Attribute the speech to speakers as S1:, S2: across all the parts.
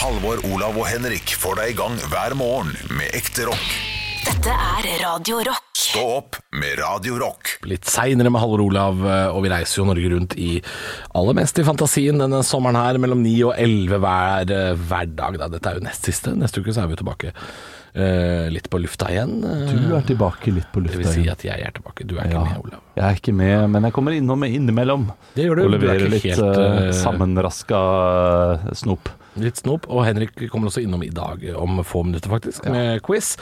S1: Halvor, Olav og Henrik får deg i gang hver morgen med ekte rock.
S2: Dette er Radio Rock.
S1: Stå opp med Radio Rock.
S3: litt seinere med Halvor Olav, eh, og vi reiser jo Norge rundt i aller mest i fantasien denne sommeren her, mellom 9 og 11 hver, eh, hver dag. Da. Dette er jo nest siste. Neste uke så er vi jo tilbake eh, litt på lufta igjen. Eh,
S4: Du er tilbake litt på
S3: det
S4: lufta
S3: vil si
S4: igjen.
S3: at jeg er tilbake. Du er ikke
S4: Ja.
S3: med, Olav.
S4: Jeg er ikke med, men jeg kommer innom innimellom.
S3: Det gjør du.
S4: Og
S3: Du er
S4: leverer
S3: ikke
S4: litt
S3: helt,
S4: eh,
S3: eh,
S4: sammenraska eh, snop.
S3: Litt snop. Og Henrik kommer også innom i dag, eh, om få minutter faktisk, med quiz.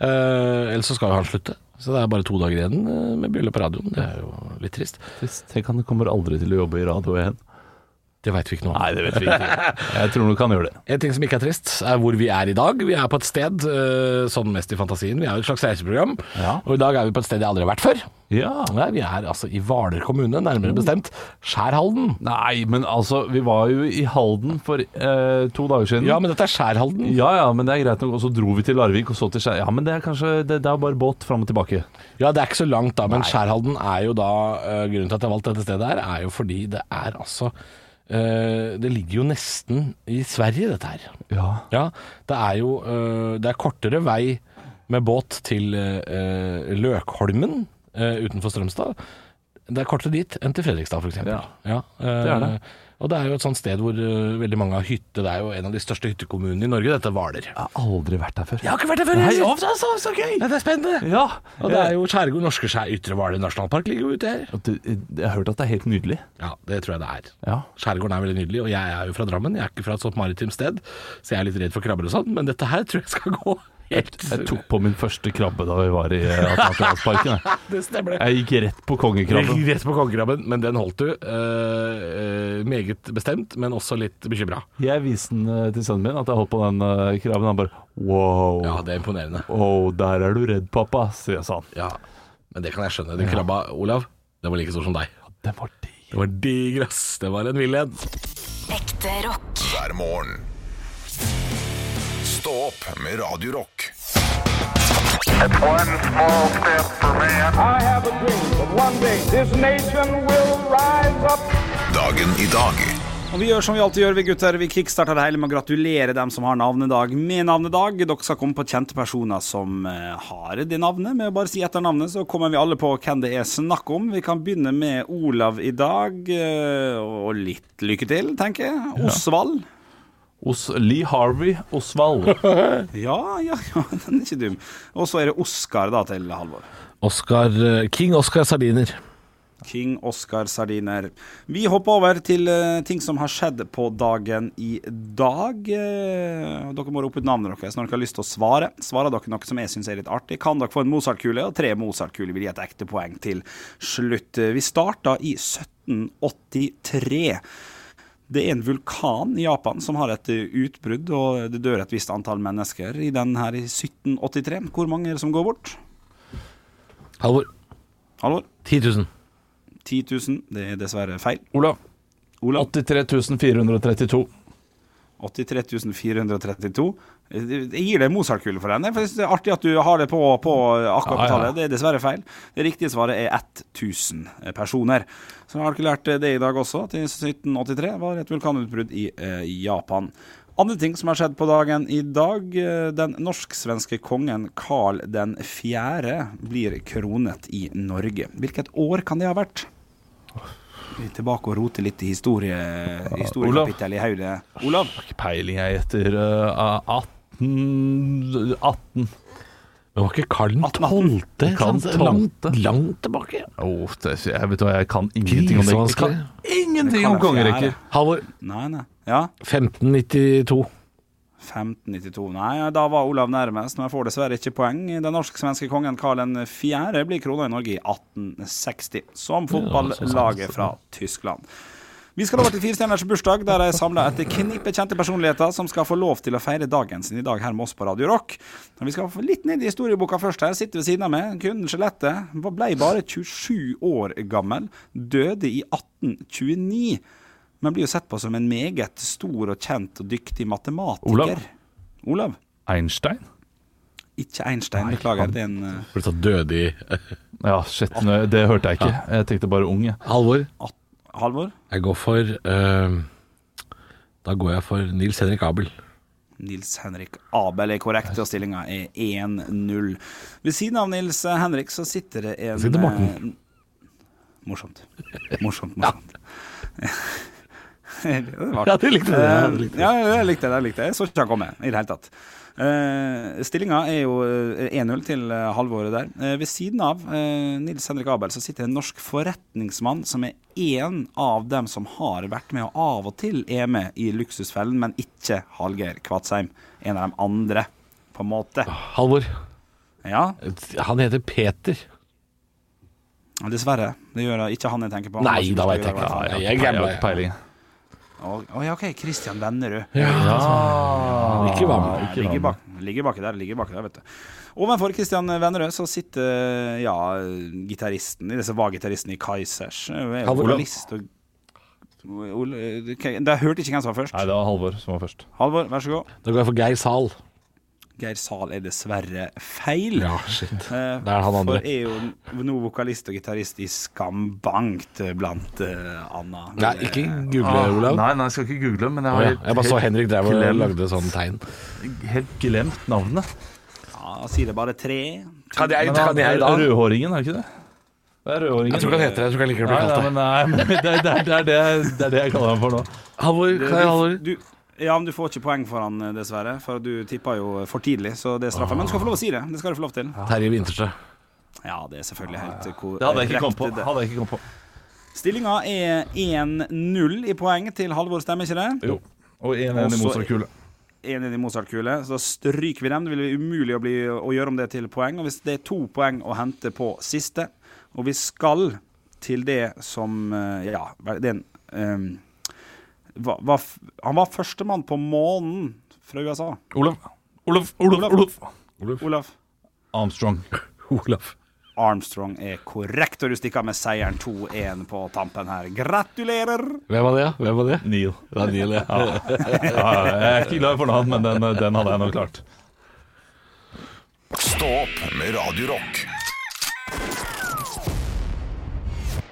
S3: Eh, ellers så skal jo han slutte. Så det er bare to dager igjen eh, med bryllup på radioen. Det er jo litt trist.
S4: Trist. Tenk han kommer aldri til å jobbe i radio igjen.
S3: Det veit vi ikke noe om.
S4: Nei, det vet vi ikke. Jeg tror nok han gjør det.
S3: En ting som ikke er trist, er hvor vi er i dag. Vi er på et sted, eh, sånn mest i fantasien. Vi er jo et slags reiseprogram,
S4: Ja.
S3: og i dag er vi på et sted jeg aldri har vært før.
S4: Ja.
S3: Nei, vi er altså i Hvaler kommune,
S4: Mm.
S3: nærmere bestemt Skjærhalden.
S4: Nei, men altså, vi var jo i Halden for eh, to dager siden.
S3: Ja, men dette er Skjærhalden.
S4: ja, ja, men det er greit nok. Og så dro vi til Larvik, og så til Skei. Ja, men det er kanskje Det, det er bare båt fram og tilbake.
S3: Ja, det er ikke så langt da, men Skjærhalden er jo da eh, Grunnen til at jeg har valgt dette stedet her, er jo fordi det er altså eh, Det ligger jo nesten i Sverige, dette her.
S4: Ja.
S3: Ja, det er jo øh, Det er kortere vei med båt til øh, Løkholmen øh, utenfor Strømstad. Det er kortere dit enn til Fredrikstad, f.eks.
S4: Ja.
S3: det
S4: er det.
S3: eh, Og det er jo et sånt sted hvor øh, veldig mange har hytte. Det er jo en av de største hyttekommunene i Norge, dette Hvaler.
S4: Jeg har aldri vært der før.
S3: Jeg har ikke vært der før!
S4: Nei,
S3: heller.
S4: å, det er så, så gøy!
S3: Ja, det er spennende!
S4: Ja.
S3: Og det er jo Skjærgård Norske Skjær Ytre Hvaler nasjonalpark ligger jo ute her.
S4: Du, jeg har hørt at det er helt nydelig.
S3: Ja, det tror jeg det er.
S4: Ja.
S3: Skjærgården er veldig nydelig, og jeg er jo fra Drammen. Jeg er ikke fra et sånt maritimt sted, så jeg er litt redd for krabber og sånn, men dette her tror jeg skal gå helt
S4: Jeg tok på min første krabbe da vi var i eh, Atlanterhavsparken. jeg.
S3: Det stemmer det.
S4: Jeg gikk rett på kongekrabben.
S3: Rett på kongekrabben, men den holdt du. eh, eh, meget bestemt, men også litt bekymra.
S4: Jeg viste den eh, til sønnen min at jeg holdt på den eh, krabben. Han bare wow.
S3: Ja, det er imponerende.
S4: Wow, der er du redd, pappa, sier jeg sa han.
S3: Ja, Men det kan jeg skjønne. Den krabba, Olav, den var like stor som deg.
S4: Den var digg.
S3: Det var diger, ass. Det var en vill en.
S2: Ekte rock.
S1: Hver morgen. Stå opp med Radio Rock.
S5: One small step for man.
S6: I have a dream that one day this nation will rise up.
S1: Dagen i dag.
S7: Og vi gjør som vi alltid gjør, vi gutter. Vi kickstarter det hele med å gratulere dem som har navnedag med navnedag. Dere skal komme på kjente personer som eh, har det navnet. Med å bare si etter navnet, så kommer vi alle på hvem det er snakk om. Vi kan begynne med Olav i dag, eh, og litt lykke til, tenker jeg. Osvald.
S4: Os Lee Harvey Osvald.
S7: Ja, ja, ja, den er ikke dum. Og så er det Oskar, da, til Halvor.
S3: Oscar, eh, King Oscar Sardiner.
S7: King Oscar Sardiner. Vi hopper over til eh, ting som har skjedd på dagen i dag. Eh, dere må rope ut navnet deres når dere har lyst til å svare. Svarer dere noe som jeg syns er litt artig, kan dere få en Mozart-kule, og tre Mozart-kuler vil gi et ekte poeng til slutt. Eh, Vi starta i 1783. Det er en vulkan i Japan som har et eh, utbrudd, og det dør et visst antall mennesker i den her i 1783. Hvor mange er det som går bort?
S3: Halvor.
S7: Halvor?
S3: 10 000.
S7: 10 000. Det er dessverre feil.
S4: Olav.
S7: Olav?
S4: 83 432.
S7: 83.432. Jeg gir deg Mozart-kule for den. jeg, For jeg synes det er artig at du har det på, på akkurat på
S4: Ja, ja.
S7: tallet. Det er dessverre feil. Det riktige svaret er 1000 personer. Så har dere lært det i dag også. Til 1783 var det et vulkanutbrudd i eh, Japan. Andre ting som har skjedd på dagen i dag. eh, Den norsk-svenske kongen Karl 4. blir kronet i Norge. Hvilket år kan det ha vært? Vi er tilbake og roter litt i historie, historiekapittelet i hodet. Olav?
S4: Har ikke peiling, jeg gjetter eh, 18 18.
S3: Det var ikke Karl 12.
S4: 18. Karl
S3: sant?
S4: 12..
S3: Langt, langt tilbake.
S4: Åh, det, er- jeg vet hva, jeg kan ingenting om det. Jeg kan
S3: Grisvanskelig.
S4: ingenting om kongerekker.
S3: Halvor.
S7: Nei, nei. Ja.
S3: 1592.
S7: 1592. Nei, ja, da var Olav nærmest, men jeg får dessverre ikke poeng. Den norsk-svenske kongen Karl 4. blir krona i Norge i 1860, som fotballaget fra Tyskland. Vi skal over til firestjerners bursdag, der jeg samla et knippe kjente personligheter som skal få lov til å feire dagen sin i dag her med oss på Radio Rock. Men vi skal få litt ned i historieboka først her. Sitter ved siden av meg, kunden Skjelettet. Ble bare 27 år gammel. Døde i 1829. Men blir jo sett på som en meget stor og kjent og dyktig matematiker.
S4: Olav?
S7: Olav?
S4: Einstein?
S7: Ikke Einstein, beklager. Det er en eh,
S3: Ble tatt døde i
S4: Ja, shit, nå- det hørte jeg ikke. Jeg tenkte bare ung, jeg.
S3: Halvor.
S7: Halvor?
S3: Jeg går for eh, Da går jeg for Nils Henrik Abel.
S7: Nils Henrik Abel er korrekt, og stillinga er 1-0. Ved siden av Nils Henrik så sitter det en
S3: sitter Morten.
S7: eh, Morsomt. Morsomt, morsomt. det var
S3: Ja, det likte du. Ja, det likte du.
S7: Eh, ja, jeg likte det. Jeg likte det. Jeg så ikke han komme i det hele tatt. Uh, Stillinga er jo eh, 1-0 til eh, halvåret der. Eh, ved siden av eh, Nils Henrik Abel så sitter en norsk forretningsmann som er én av dem som har vært med og av og til er med i Luksusfellen, men ikke Hallgeir Kvatsheim. En av de andre, på en måte.
S3: Halvor,
S7: Ja,
S3: han heter Peter.
S7: dessverre. Det gjør jeg ikke han jeg tenker på.
S3: Nei, da veit jeg ikke. Ja, Jeg
S4: Jeg har
S3: gambler.
S4: ikke peiling.
S7: Å å ja, OK. Christian Vennerud.
S3: Han Ikke var med.
S7: Nei, ligger, bak, ligger baki der, ligger baki der, vet du. Ovenfor Kristian Vennerød så sitter ja, gitaristen, det som var gitaristen i Kaizers. er
S3: Halvor.
S7: vokalist og- Ol- eh, ok, Da hørte jeg ikke hvem som var først.
S4: Nei, det var Halvor som var først.
S7: Halvor, vær så god.
S3: Da går jeg for Geir Zahl.
S7: Geir Zahl er dessverre feil.
S3: Ja, shit.
S7: Eh,
S3: Det er han andre.
S7: For er jo nå vokalist og gitarist i Skambankt, eh, blant uh, anna.
S3: Nei, ikke google, Olav.
S4: Ah, Nei, nei, jeg skal ikke google, men jeg
S3: Å
S4: har
S3: ja,
S4: helt-
S3: Jeg bare så Henrik drev og
S4: glem-
S3: lagde sånn tegn.
S4: helt glemt navnet.
S7: eh, Ja, han sier det bare tre.
S3: Kan jeg,
S4: Men han er rødhåringen, er det ikke det? Det er rødhåringen.
S3: Jeg tror ikke han heter det. Jeg tror ikke jeg liker å bli
S4: Nei, nei,
S3: kalt det.
S4: men, nei, men det, er- det, er- det, er det, det er det jeg kaller ham for nå.
S3: Halvor, kan jeg Halvor?
S7: Eh, Du, ja, men du får ikke poeng for han, eh, dessverre. For du tippa jo for tidlig, så det er straffa. Men du skal få lov å si det. Det skal du få lov til.
S3: Terje Winterstø.
S7: Ja, det er selvfølgelig helt eh, korrekt.
S4: Det hadde jeg ikke kommet på. Hadde jeg ikke kommet på.
S7: eh, Stillinga er 1-0 i poeng til Halvor, stemmer ikke det?
S4: Jo. Og en en i
S7: Også-
S4: Mozart-kule.
S7: 1-1 i Mozart-kule. Så da stryker vi dem. Det vil være umulig å, bli, å gjøre om det til poeng. Og hvis det er to poeng å hente på siste, og vi skal til det som eh, Ja, det er en ehm, hva- hva f- Han var førstemann på månen fra USA.
S4: Olav. Olav, Olav, Olav.
S7: Olaf.
S4: Armstrong.
S3: Olaf.
S7: Armstrong er korrekt, og du stikker av med seieren 2-1 på tampen her. Gratulerer!
S3: Hvem var det? ja? Hvem var det?
S4: Neil.
S3: Det er Neil, ja.
S4: Ja, jeg er ikke glad for navn, men den, den hadde jeg nok klart.
S1: Stå opp med Radio Rock.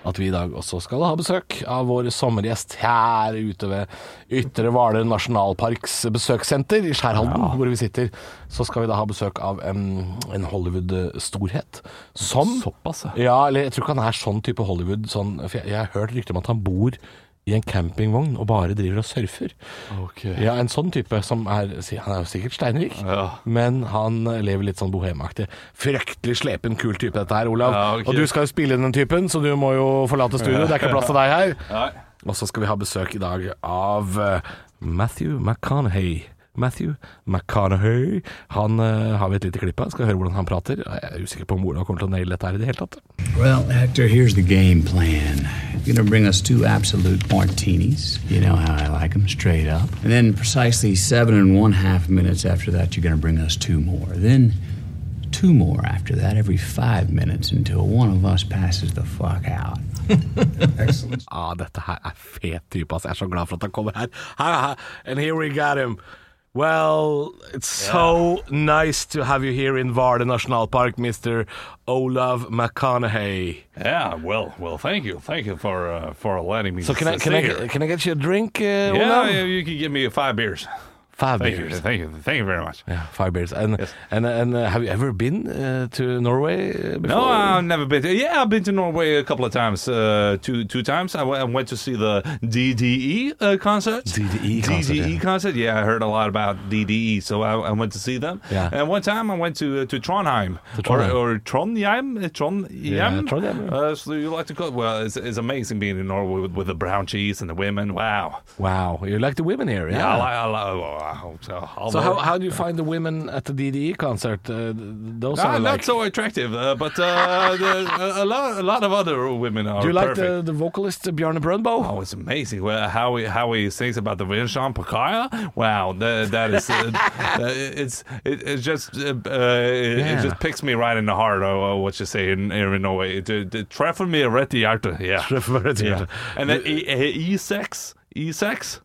S3: at vi i dag også skal ha besøk av vår sommergjest her ute ved Ytre Hvaler nasjonalparks besøkssenter i Skjærhalden, hvor vi sitter. Så skal vi da ha besøk av en, en Hollywood-storhet som
S4: Såpass, ja.
S3: Ja, eller jeg tror ikke han er sånn type Hollywood. Sånn, for jeg, jeg har hørt rykter om at han bor i en campingvogn og bare driver og surfer. Ja, En sånn type som er si- Han er jo sikkert steinrik,
S4: Ja.
S3: men han lever litt sånn bohemaktig. Fryktelig slepen, kul type dette her, Olav.
S4: Ja, ok.
S3: Og du skal jo spille den typen, så du må jo forlate studio. Det er ikke plass til deg her.
S4: Nei.
S3: Og så skal vi ha besøk i dag av eh, Matthew McConaughey. Matthew McConaughey. Han eh, har vi et lite klipp av. Skal høre hvordan han prater. Jeg er usikker på om Olav kommer til å naile dette her i det hele tatt.
S8: Well, Hector, here's the game plan. You're going to bring us two absolute martinis. You know how I like them, straight up. And then, precisely seven and one half minutes after that, you're going to bring us two more. Then, two more after that, every five minutes until one of us passes the fuck out.
S3: Ah, dette her er fet type, ass. Jeg er så glad for at han kommer her. Ha, ha. And here we got him. Well, it's so nice to have you here in Varde Nasjonalpark, Mr. Olav McConaughey.
S4: Yeah, well, well, thank you. Thank you for, uh, for letting me
S3: So can I,
S4: s-
S3: can, I,
S4: stay
S3: get-
S4: here.
S3: can I get you a drink, uh,
S4: Yeah,
S3: Olav?
S4: you, you can give me five beers.
S3: Five
S4: Thank you.
S3: beers.
S4: Thank you. Thank you very much.
S3: Yeah, five beers. And
S4: Yes.
S3: and and uh, have you ever been uh, to Norway uh, before?
S4: No, I've never been. To, yeah, I've been to Norway a couple of times. Uh, two two times. I, w- I went to see the DDE uh, concert.
S3: DDE E concert,
S4: DDE
S3: yeah.
S4: concert. Yeah, I heard a lot about DDE, so I, I went to see them.
S3: Yeah.
S4: And one time I went to to Trondheim,
S3: To Trondheim.
S4: or, or Trondheim, uh, Trondheim.
S3: Yeah, Trondheim, yeah.
S4: Uh, so you like to call it? Well, it's, it's amazing being in Norway with, with the brown cheese and the women. Wow.
S3: Wow, you like the women here, yeah?
S4: Yeah, I, li- I, li- well, I hope so.
S3: so
S4: Although-
S3: how how do you find the women at the DDE concert? Uh, th- those
S4: Ah,
S3: are
S4: not
S3: like.
S4: so attractive, uh, but uh, the, a, a lot, a lot of other women are.
S3: do you like
S4: perfect.
S3: the, the vocalist uh, Bjarne Brøndbo?
S4: Oh, it's amazing well, how he how he sings about the Vincent Pacaya. Wow, that, that is uh, uh, it's it, it just uh, uh, it,
S3: Yeah.
S4: it just picks me right in the heart. Oh, oh, what you say in, here in Norway? It, it, it treffer me right the heart. Yeah,
S3: Treffer me right i hjertet.
S4: Yeah. And then e, e, e sex, e sex.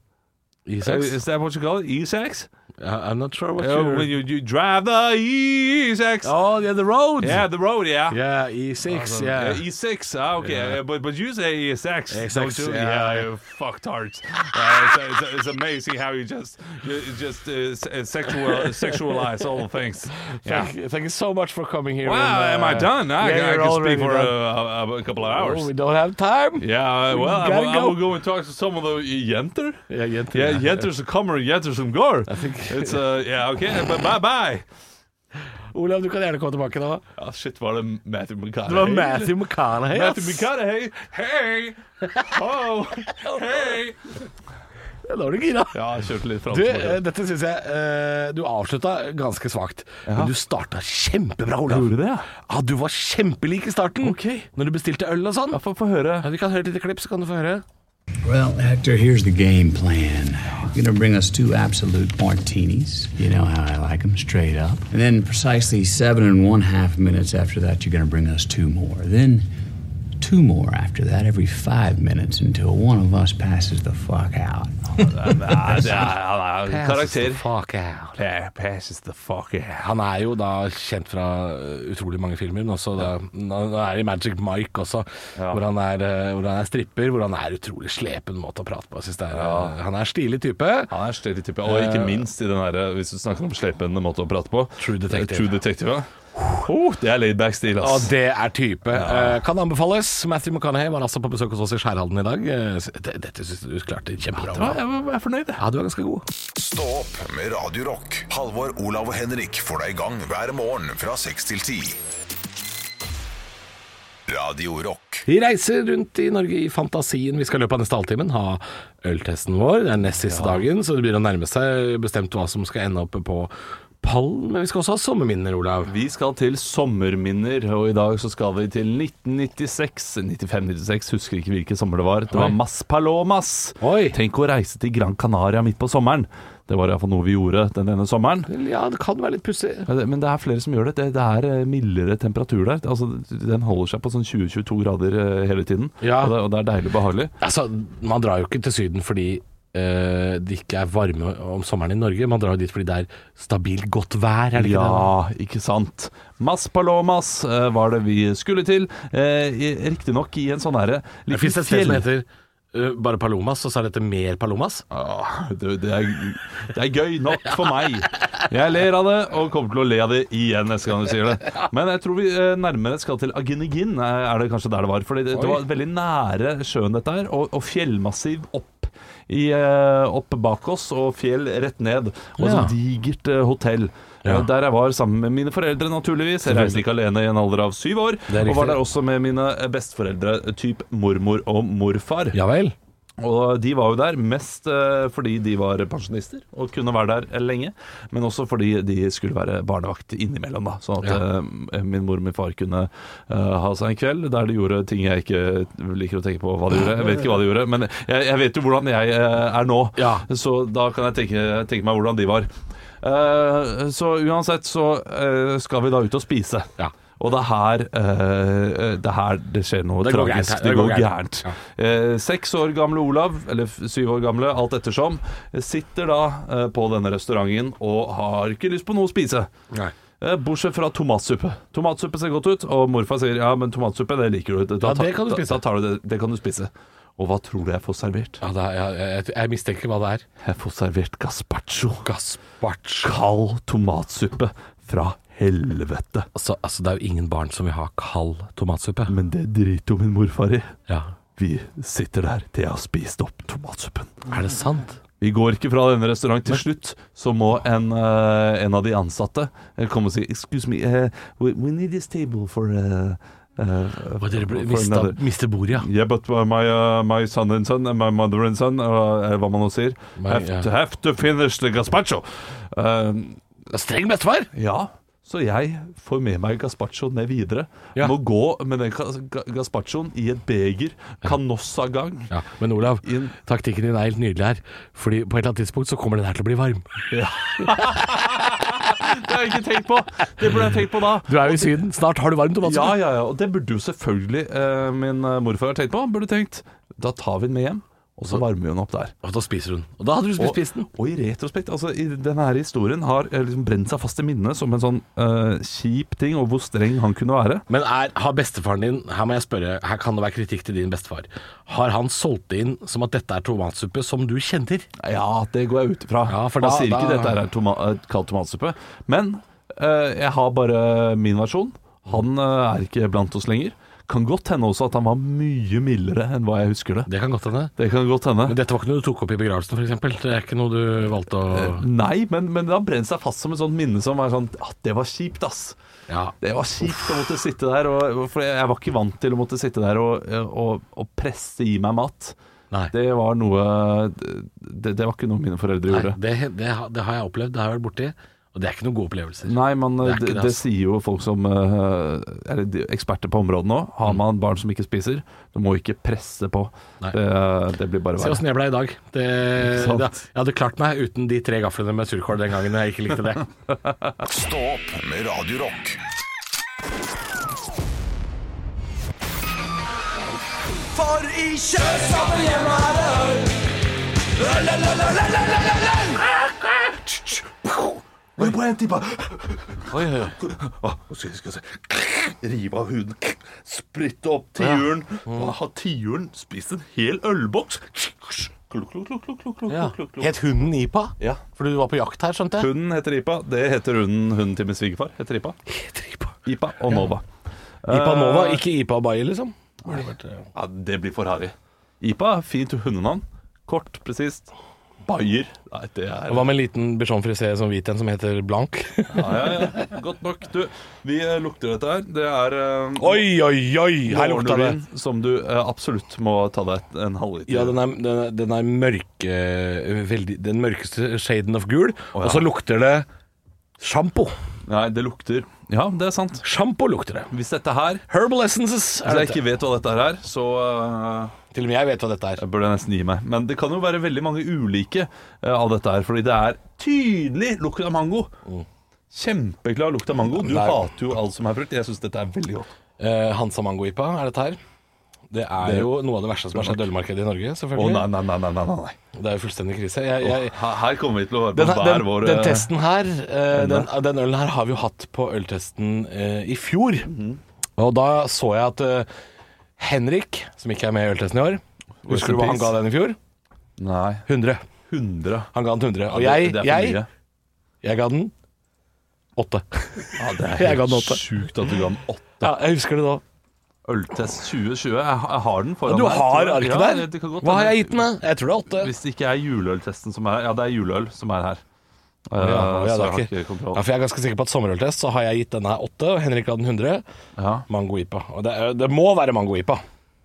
S3: He says-
S4: Is that what you call it? E sex?
S3: I- Uh, I'm not sure what
S4: Oh,
S3: you're...
S4: when you, you drive the E6.
S3: Oh, yeah, the road.
S4: Yeah, the road, yeah.
S3: Yeah, E6, yeah.
S4: E6. Ah, okay.
S3: Yeah.
S4: uh, But but you say E6.
S3: E6,
S4: don't you?
S3: yeah.
S4: Yeah, you fucktards. uh, it's, it's, it's amazing how you just you just uh, s- uh, sexual sexualize all things. Yeah.
S3: Thank, you- thank you so much for coming here.
S4: Wow,
S3: and,
S4: am I
S3: uh,
S4: done? I,
S3: yeah,
S4: I
S3: you're
S4: can speak
S3: already
S4: for uh,
S3: done.
S4: a, a couple of hours.
S3: Oh, we don't have time.
S4: yeah, uh, well, I
S3: gotta
S4: will, I
S3: go.
S4: will go and talk to some of the jenter.
S3: Yeah, jenter,
S4: Yeah,
S3: yeah.
S4: jenter som kommer, jenter som går. I
S3: think-
S4: it's uh, yeah, okay. But bye bye.
S3: Olav, du kan gjerne komme tilbake da.
S4: Ja, Oh, shit, var det Matthew McConaughey?
S3: Det var Matthew McConaughey.
S4: Matthew
S3: ass.
S4: McConaughey. Hei! Oh, hei!
S3: Ja, Da var du gira.
S4: Ja, jeg kjørte litt fram.
S3: Du,
S4: til
S3: eh,
S4: meg.
S3: dette syns jeg eh, Du avslutta ganske svakt, men du starta kjempebra, Olav.
S4: Gjorde det, ja?
S3: Ja, du var kjempelik i starten.
S4: Ok.
S3: Når du bestilte øl og sånn.
S4: Ja, få få høre.
S3: Ja, vi kan høre et lite klipp, så kan du få høre.
S8: Well, Hector, here's the game plan. You're going to bring us two absolute martinis. You know how I like them, straight up. And then, precisely seven and one half minutes after that, you're going to bring us two more. Then, two more after that every five minutes until one of us passes the fuck out.
S4: Nei, det er- han er karakter.
S3: Fuck out.
S4: Pa- Passes the fuck out.
S3: Han er jo da kjent fra eh, utrolig mange filmer, men også da, han er i Magic Mike også, hvor, han er, eh, hvor han er stripper, hvor han er utrolig slepen måte å prate på. Jeg synes det er, eh, Han er stilig type.
S4: Han er stereotype, og ikke minst i den her, eh, hvis du snakker om sleipende måte å prate på. Eh,
S3: True Detective.
S4: True detective ja. oh, det er laidback-stil,
S3: Og
S4: ass.
S3: det er type. Eh, Kan anbefales. Matthew McConaughey var altså på besøk hos oss i Skjærhalden i dag. Eh, s- det- Dette synes jeg du klarte kjempebra.
S4: jeg var- jeg er fornøyd, jeg.
S3: Ja, du er ganske god.
S1: Stå opp med Radio Rock. Halvor, Olav og Henrik får deg i gang hver morgen fra 6 til 10. Radio Rock.
S3: Vi reiser rundt i Norge i fantasien. Vi skal i løpet av neste halvtimen ha øltesten vår. Det er nest siste dagen, så det blir å nærme seg bestemt hva som skal ende opp på pallen. Men vi skal også ha sommerminner, Olav.
S4: Vi skal til sommerminner, og i dag så skal vi til 1996. 95-96, husker ikke hvilken sommer det var. Det var
S3: Oi.
S4: Mas Palomas.
S3: Oi.
S4: Tenk å reise til Gran Canaria midt på sommeren. Det var iallfall noe vi gjorde den ene sommeren.
S3: Ja, det kan være litt pussig.
S4: Men det- Men det er flere som gjør det. Det, det er eh, mildere temperatur der. Altså, den holder seg på sånn 20-22 grader eh, hele tiden.
S3: Ja.
S4: Og, det, og det er deilig og behagelig.
S3: Altså, man drar jo ikke til Syden fordi eh, det ikke er varme om sommeren i Norge. Man drar jo dit fordi det er stabilt godt vær, er det ikke det?
S4: Ja, ikke sant. Mas Palomas eh, var det vi skulle til. Riktignok i en sånn herre
S3: Det fins et sted som heter eh, bare Palomas, og så er dette mer Palomas.
S4: Åh, det, det, er, det er gøy nok for meg. Jeg ler av det, og kommer til å le av det igjen neste gang du sier det. Men jeg tror vi eh, nærmere skal til Aginegin, eh, er det kanskje der det var. Fordi det, det var veldig nære sjøen dette her, og, og fjellmassiv opp. I, eh, opp bak oss, og fjell rett ned. Og et
S3: Ja.
S4: sånt digert eh, hotell.
S3: Ja.
S4: Eh, Der jeg var sammen med mine foreldre, naturligvis. Jeg reiste ikke alene i en alder av syv år.
S3: er
S4: Og
S3: riktig.
S4: var der også med mine eh, besteforeldre, typ mormor og morfar.
S3: Ja vel.
S4: Og de var jo der mest eh, fordi de var pensjonister og kunne være der eh, lenge, men også fordi de skulle være barnevakt innimellom, da. Sånn at eh, min mor og min far kunne eh, ha seg en kveld der de gjorde ting jeg ikke liker å tenke på hva de gjorde. Jeg vet ikke hva de gjorde, men jeg, jeg vet jo hvordan jeg eh, er nå,
S3: Ja.
S4: så da kan jeg tenke, tenke meg hvordan de var. Eh, så uansett så eh, skal vi da ut og spise.
S3: Ja.
S4: Og det er her, eh, det er her det skjer noe
S3: Det går
S4: tragisk.
S3: gærent her.
S4: Det går
S3: Det går
S4: gærent. Eh, seks år gamle Olav, eller f- syv år gamle, alt ettersom, sitter da eh, på denne restauranten og har ikke lyst på noe å spise.
S3: Nei.
S4: Eh, bortsett fra tomatsuppe. Tomatsuppe ser godt ut, og morfar sier ja, men tomatsuppe, det liker du. Da,
S3: Ja,
S4: ta-
S3: det kan du spise.
S4: Da, da tar du det, det kan du spise. Og hva tror du jeg får servert?
S3: Ja, det er, jeg, jeg, jeg mistenker hva det er.
S4: Jeg får servert gazpacho.
S3: Gazpacho.
S4: Kald tomatsuppe fra helvete.
S3: Altså, altså, det er jo ingen barn som vil ha kald tomatsuppe.
S4: Men det driter jo min morfar i.
S3: Ja.
S4: Vi sitter der til jeg har spist opp tomatsuppen.
S3: Er det sant?
S4: Vi går ikke fra denne restauranten til slutt, så må en, eh, en av de ansatte eh, komme og si Excuse me, eh, we, we need this table for uh,
S3: Og dere ble- mista, mister bordet, ja.
S4: Yeah, but uh, my, uh, my son and son, uh, my mother and son, uh, eh, hva man nå sier
S3: My-
S4: have,
S3: ja.
S4: to, have to finish the gazpacho. Eh,
S3: Streng bestefar!
S4: ja, så jeg får med meg gazpacho ned videre.
S3: Ja.
S4: Må gå med den ga- ga- gazpachoen i et beger. Canossa-gang.
S3: Ja, men Olav,
S4: Inn.
S3: taktikken din er helt nydelig her. Fordi på et eller annet tidspunkt så kommer den her til å bli varm.
S4: Det har jeg ikke tenkt på! Det burde jeg tenkt på da.
S3: Du er jo i Syden, snart har du varm
S4: Ja,
S3: tomatsuppe.
S4: ja, ja. Og det burde jo selvfølgelig eh, min eh, morfar ha tenkt på. Han Burde tenkt Da tar vi den med hjem og så varmer vi den opp der.
S3: Og da spiser hun. Og da hadde du
S4: Og,
S3: spist den.
S4: og i retrospekt, altså i denne her historien har eh, liksom brent seg fast i minnet som en sånn eh, kjip ting, og hvor streng han kunne være.
S3: Men er, har bestefaren din Her må jeg spørre, her kan det være kritikk til din bestefar. Har han solgt det inn som at dette er tomatsuppe som du kjenner?
S4: Ja, det går jeg ut ifra.
S3: Ja, for
S4: han
S3: da-
S4: sier ikke
S3: da-
S4: dette er toma eh, kald tomatsuppe. Men eh, jeg har bare min versjon. Han eh, er ikke blant oss lenger. Kan godt hende også at han var mye mildere enn hva jeg husker det.
S3: Det kan godt hende.
S4: Det kan godt hende.
S3: Men dette var ikke noe du tok opp i begravelsen, f.eks.? Det er ikke noe du valgte å
S4: Nei, men, men det har brent seg fast som et sånt minne som er sånn at det var kjipt, ass.
S3: Ja.
S4: Det var kjipt å måtte sitte der, og, for jeg var ikke vant til å måtte sitte der og, og, og presse i meg mat.
S3: Nei.
S4: Det var noe Det, det var ikke noe mine foreldre
S3: Nei,
S4: gjorde.
S3: det, det, har- det har jeg opplevd, det har jeg vært borti, og det er ikke noen gode opplevelser.
S4: Nei, men
S3: Det er
S4: det,
S3: ikke
S4: det,
S3: det, ass.
S4: sier jo folk som eh, Eller de- eksperter på området nå. Har man barn som ikke spiser, du må ikke presse på.
S3: Mm. Nei.
S4: Det, det blir bare
S3: Se
S4: verre.
S3: åssen jeg ble i dag. Det,
S4: sant?
S3: det, jeg hadde klart meg uten de tre gaflene med surkål den gangen jeg ikke likte det.
S1: Stå opp med Radio Rock.
S9: Nå er jeg på en time. Å, nå skal jeg- skal jeg se. Rive av huden. Spritte opp tiuren.
S3: Mm.
S9: Å, Har tiuren spist en hel ølboks? Klukk, klukk, klukk, klukk, klukk, klukk, klukk, klukk.
S3: Het hunden Ipa?
S4: Ja.
S3: Fordi du var på jakt her, skjønte jeg?
S4: Hunden heter Ipa. Det heter hunden, hunden til min svigerfar. Heter Ipa. Ipa og Nova.
S3: Ipa Nova, ikke Ipa Baye, liksom?
S4: Ja, det blir for harry. Ipa, fint hundenavn. Kort, presist. Bayer. Nei, det er
S3: Hva med en liten bichon frisé som hvit en som heter Blank?
S4: ja, ja, ja. Godt nok. Du, vi eh, lukter dette her. Det er eh,
S3: oi, oi, oi! Her lukta det.
S4: morgenrevyen Som du eh, absolutt må ta deg et- en halvliter
S3: Ja, den er, den er, den er mørke eh, veldig, Den mørkeste shaden of gul. Og så lukter det sjampo.
S4: Nei, det lukter Ja, det er sant.
S3: Sjampo lukter det.
S4: Hvis dette her
S3: Herbal essences
S4: Hvis
S3: er
S4: jeg
S3: dette.
S4: ikke vet hva dette her er, så øh,
S3: Til og med jeg vet hva dette er.
S4: jeg burde jeg nesten gi meg. Men det kan jo være veldig mange ulike øh, av dette her, fordi det er tydelig lukt av mango. Kjempeklar lukt av mango. Du
S3: Mm. Nei.
S4: hater jo alt som er frukt. Jeg syns dette er veldig godt.
S3: Eh, Hansa Mango-IPA er dette her. Det er
S4: Det-
S3: jo noe av det verste som har skjedd ølmarkedet i Norge,
S4: Å,
S3: selvfølgelig.
S4: nei, nei, nei, nei, nei, nei.
S3: det er jo fullstendig krise. Jeg, jeg,
S4: Her her kommer vi til å høre på
S3: den, her-
S4: hver
S3: den,
S4: vår
S3: den
S4: øh,
S3: testen her, eh, den, den ølen her, har vi jo hatt på øltesten eh, i fjor.
S4: Mhm.
S3: Og da så jeg at eh, Henrik, som ikke er med i øltesten i år Husker du hva han
S4: peace.
S3: ga den i fjor?
S4: Nei.
S3: 100.
S4: 100.
S3: Han ga den 100. Og
S4: Det-
S3: jeg,
S4: det er for
S3: jeg,
S4: mye.
S3: jeg ga den 8.
S4: ja, Det er
S3: jeg ga den
S4: helt
S3: åtte.
S4: sjukt at du ga den åtte.
S3: Ja, jeg husker det da.
S4: Øltest 2020. Jeg, ha- jeg har den foran
S3: Du
S4: meg.
S3: har
S4: Ja,
S3: arket
S4: ja, det
S3: der?
S4: kan godt
S3: Hva har
S4: hende.
S3: jeg gitt den, da? Jeg tror det er 8.
S4: Hvis det ikke er juleøltesten som er her Ja, det er juleøl som er her. Eh,
S3: Ja, ja,
S4: så
S3: det
S4: jeg har
S3: er
S4: ikke
S3: ikke,
S4: kontroll.
S3: ja, for jeg er ganske sikker på at sommerøltest så har jeg gitt denne her 8, og Henrik hadde den 100.
S4: Ja.
S3: Mango-IPA. Og det, er- det må være mango-IPA.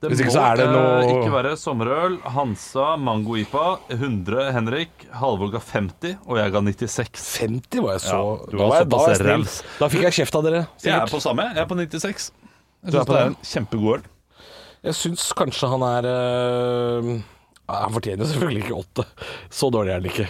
S3: Hvis ikke så er det
S4: eh,
S3: noe
S4: Ikke være sommerøl. Hansa Mango IPA 100 Henrik. Halvor ga 50, og jeg ga 96.
S3: 50 var jeg så
S4: Ja, du
S3: da
S4: var
S3: jeg- da
S4: såpass
S3: jeg snill.
S4: raus.
S3: Da fikk jeg kjeft av dere.
S4: Jeg
S3: sikkert.
S4: er på samme. Jeg er på 96. Jeg
S3: Du er
S4: syns
S3: på
S4: det er
S3: den.
S4: en kjempegod øl.
S3: Jeg syns kanskje han er øh, ja, Han fortjener selvfølgelig ikke åtte. Så dårlig er han ikke.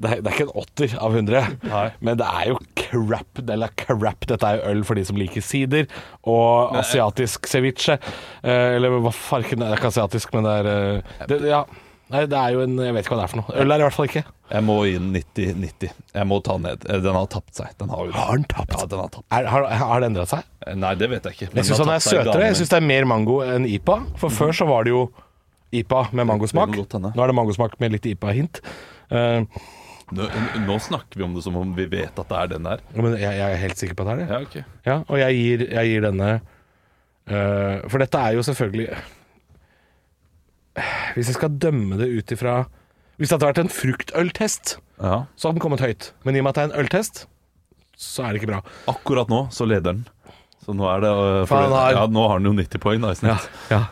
S3: Det er, det er ikke en åtter av 100,
S4: Nei.
S3: men det er jo crap. Det er crap. Dette er jo øl for de som liker sider og asiatisk ceviche. Eh, eller hva farken Det er ikke asiatisk, men det er eh, det, Ja. Nei, det er jo en Jeg vet ikke hva det er for noe. Øl er det i hvert fall ikke.
S4: Jeg må inn 90-90. Jeg må ta ned. Eh, Den har tapt seg. Den har jo det.
S3: Har den tapt?
S4: Ja, den har tapt.
S3: Er, har, har det endra seg?
S4: Eh, Nei, det vet jeg ikke. men
S3: Jeg syns
S4: den
S3: han
S4: har
S3: er
S4: tapt seg i
S3: søtere.
S4: gavene.
S3: Jeg syns det er mer mango enn IPA. For før så var det jo IPA med mangosmak.
S4: Det kan godt hende.
S3: Nå er det mangosmak med litt IPA-hint. Eh,
S4: Nå, nå snakker vi om det som om vi vet at det er den der.
S3: men jeg, jeg er helt sikker på at det er det.
S4: Ja, ok.
S3: Ja, og jeg gir, jeg gir denne eh, For dette er jo selvfølgelig Hvis jeg skal dømme det ut ifra Hvis det hadde vært en fruktøltest,
S4: Ja.
S3: så hadde den kommet høyt. Men i og med at det er en øltest, så er det ikke bra.
S4: Akkurat nå så leder den. Så nå er det øh,
S3: For han har-
S4: ja, Nå har han jo 90 poeng, da, i
S3: Ja,
S4: snitt.
S3: ja.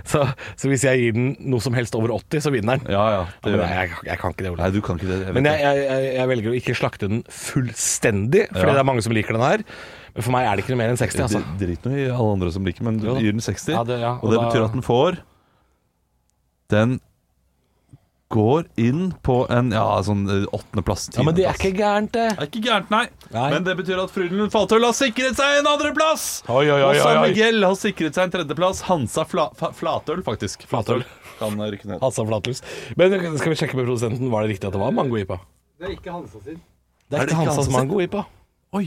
S3: Så, så hvis jeg gir den noe som helst over 80, så vinner den.
S4: Ja, ja.
S3: Ja,
S4: det gjør
S3: men
S4: han.
S3: jeg, jeg kan ikke det, Ole.
S4: Nei, du kan ikke det. Jeg vet
S3: Men jeg,
S4: det.
S3: jeg, jeg, jeg velger å ikke slakte den fullstendig, fordi
S4: Ja.
S3: det er mange som liker den her. Men for meg er det ikke noe mer enn 60, altså.
S4: Dri- Drit nå i alle andre som liker, men du
S3: Jo da.
S4: gir den 60.
S3: Ja, det- ja,
S4: og,
S3: og
S4: det
S3: da-
S4: betyr at den får den går inn på en ja, sånn eh, åttendeplass.
S3: Ja, men det er
S4: tiendeplass.
S3: ikke gærent, det.
S4: Det er ikke gærent, nei.
S3: Nei.
S4: Men det betyr at Frydenlund Faltøl har sikret seg en andreplass!
S3: Oi, oi, oi,
S4: Og San
S3: oi, oi.
S4: Miguel har sikret seg en tredjeplass. Hansa Fla Fa- Flatøl, faktisk.
S3: Flatøl.
S4: kan rykke ned.
S3: Hansa Flatlus. Men skal vi sjekke med produsenten, var det riktig at det var mango-ipa? Det er ikke Hansa sin. Det er ikke Hansas mango-ipa.
S4: Oi!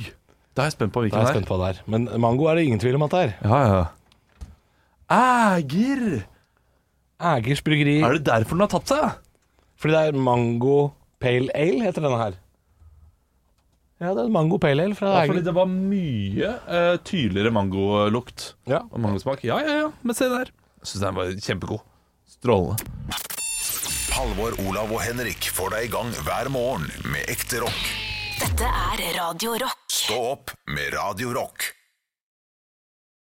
S4: Da er jeg spent på
S3: Da
S4: hvilken
S3: er jeg spent på det her. Men mango er det ingen tvil om at det er.
S4: Ja, ja. Æger!
S3: Ægers bryggeri.
S4: Er det derfor den har tapt seg?
S3: Fordi det er mango pale ale, heter denne her. Ja, det er en mango pale ale fra
S4: Ja, fordi
S3: Æger.
S4: det var mye eh, tydeligere mangolukt
S3: Ja.
S4: og mangosmak. Ja, ja, ja. Men se der. Jeg syns den var kjempegod. Strålende.
S1: Halvor, Olav og Henrik får deg i gang hver morgen med ekte rock.
S2: Dette er Radio Rock.
S1: Stå opp med Radio Rock.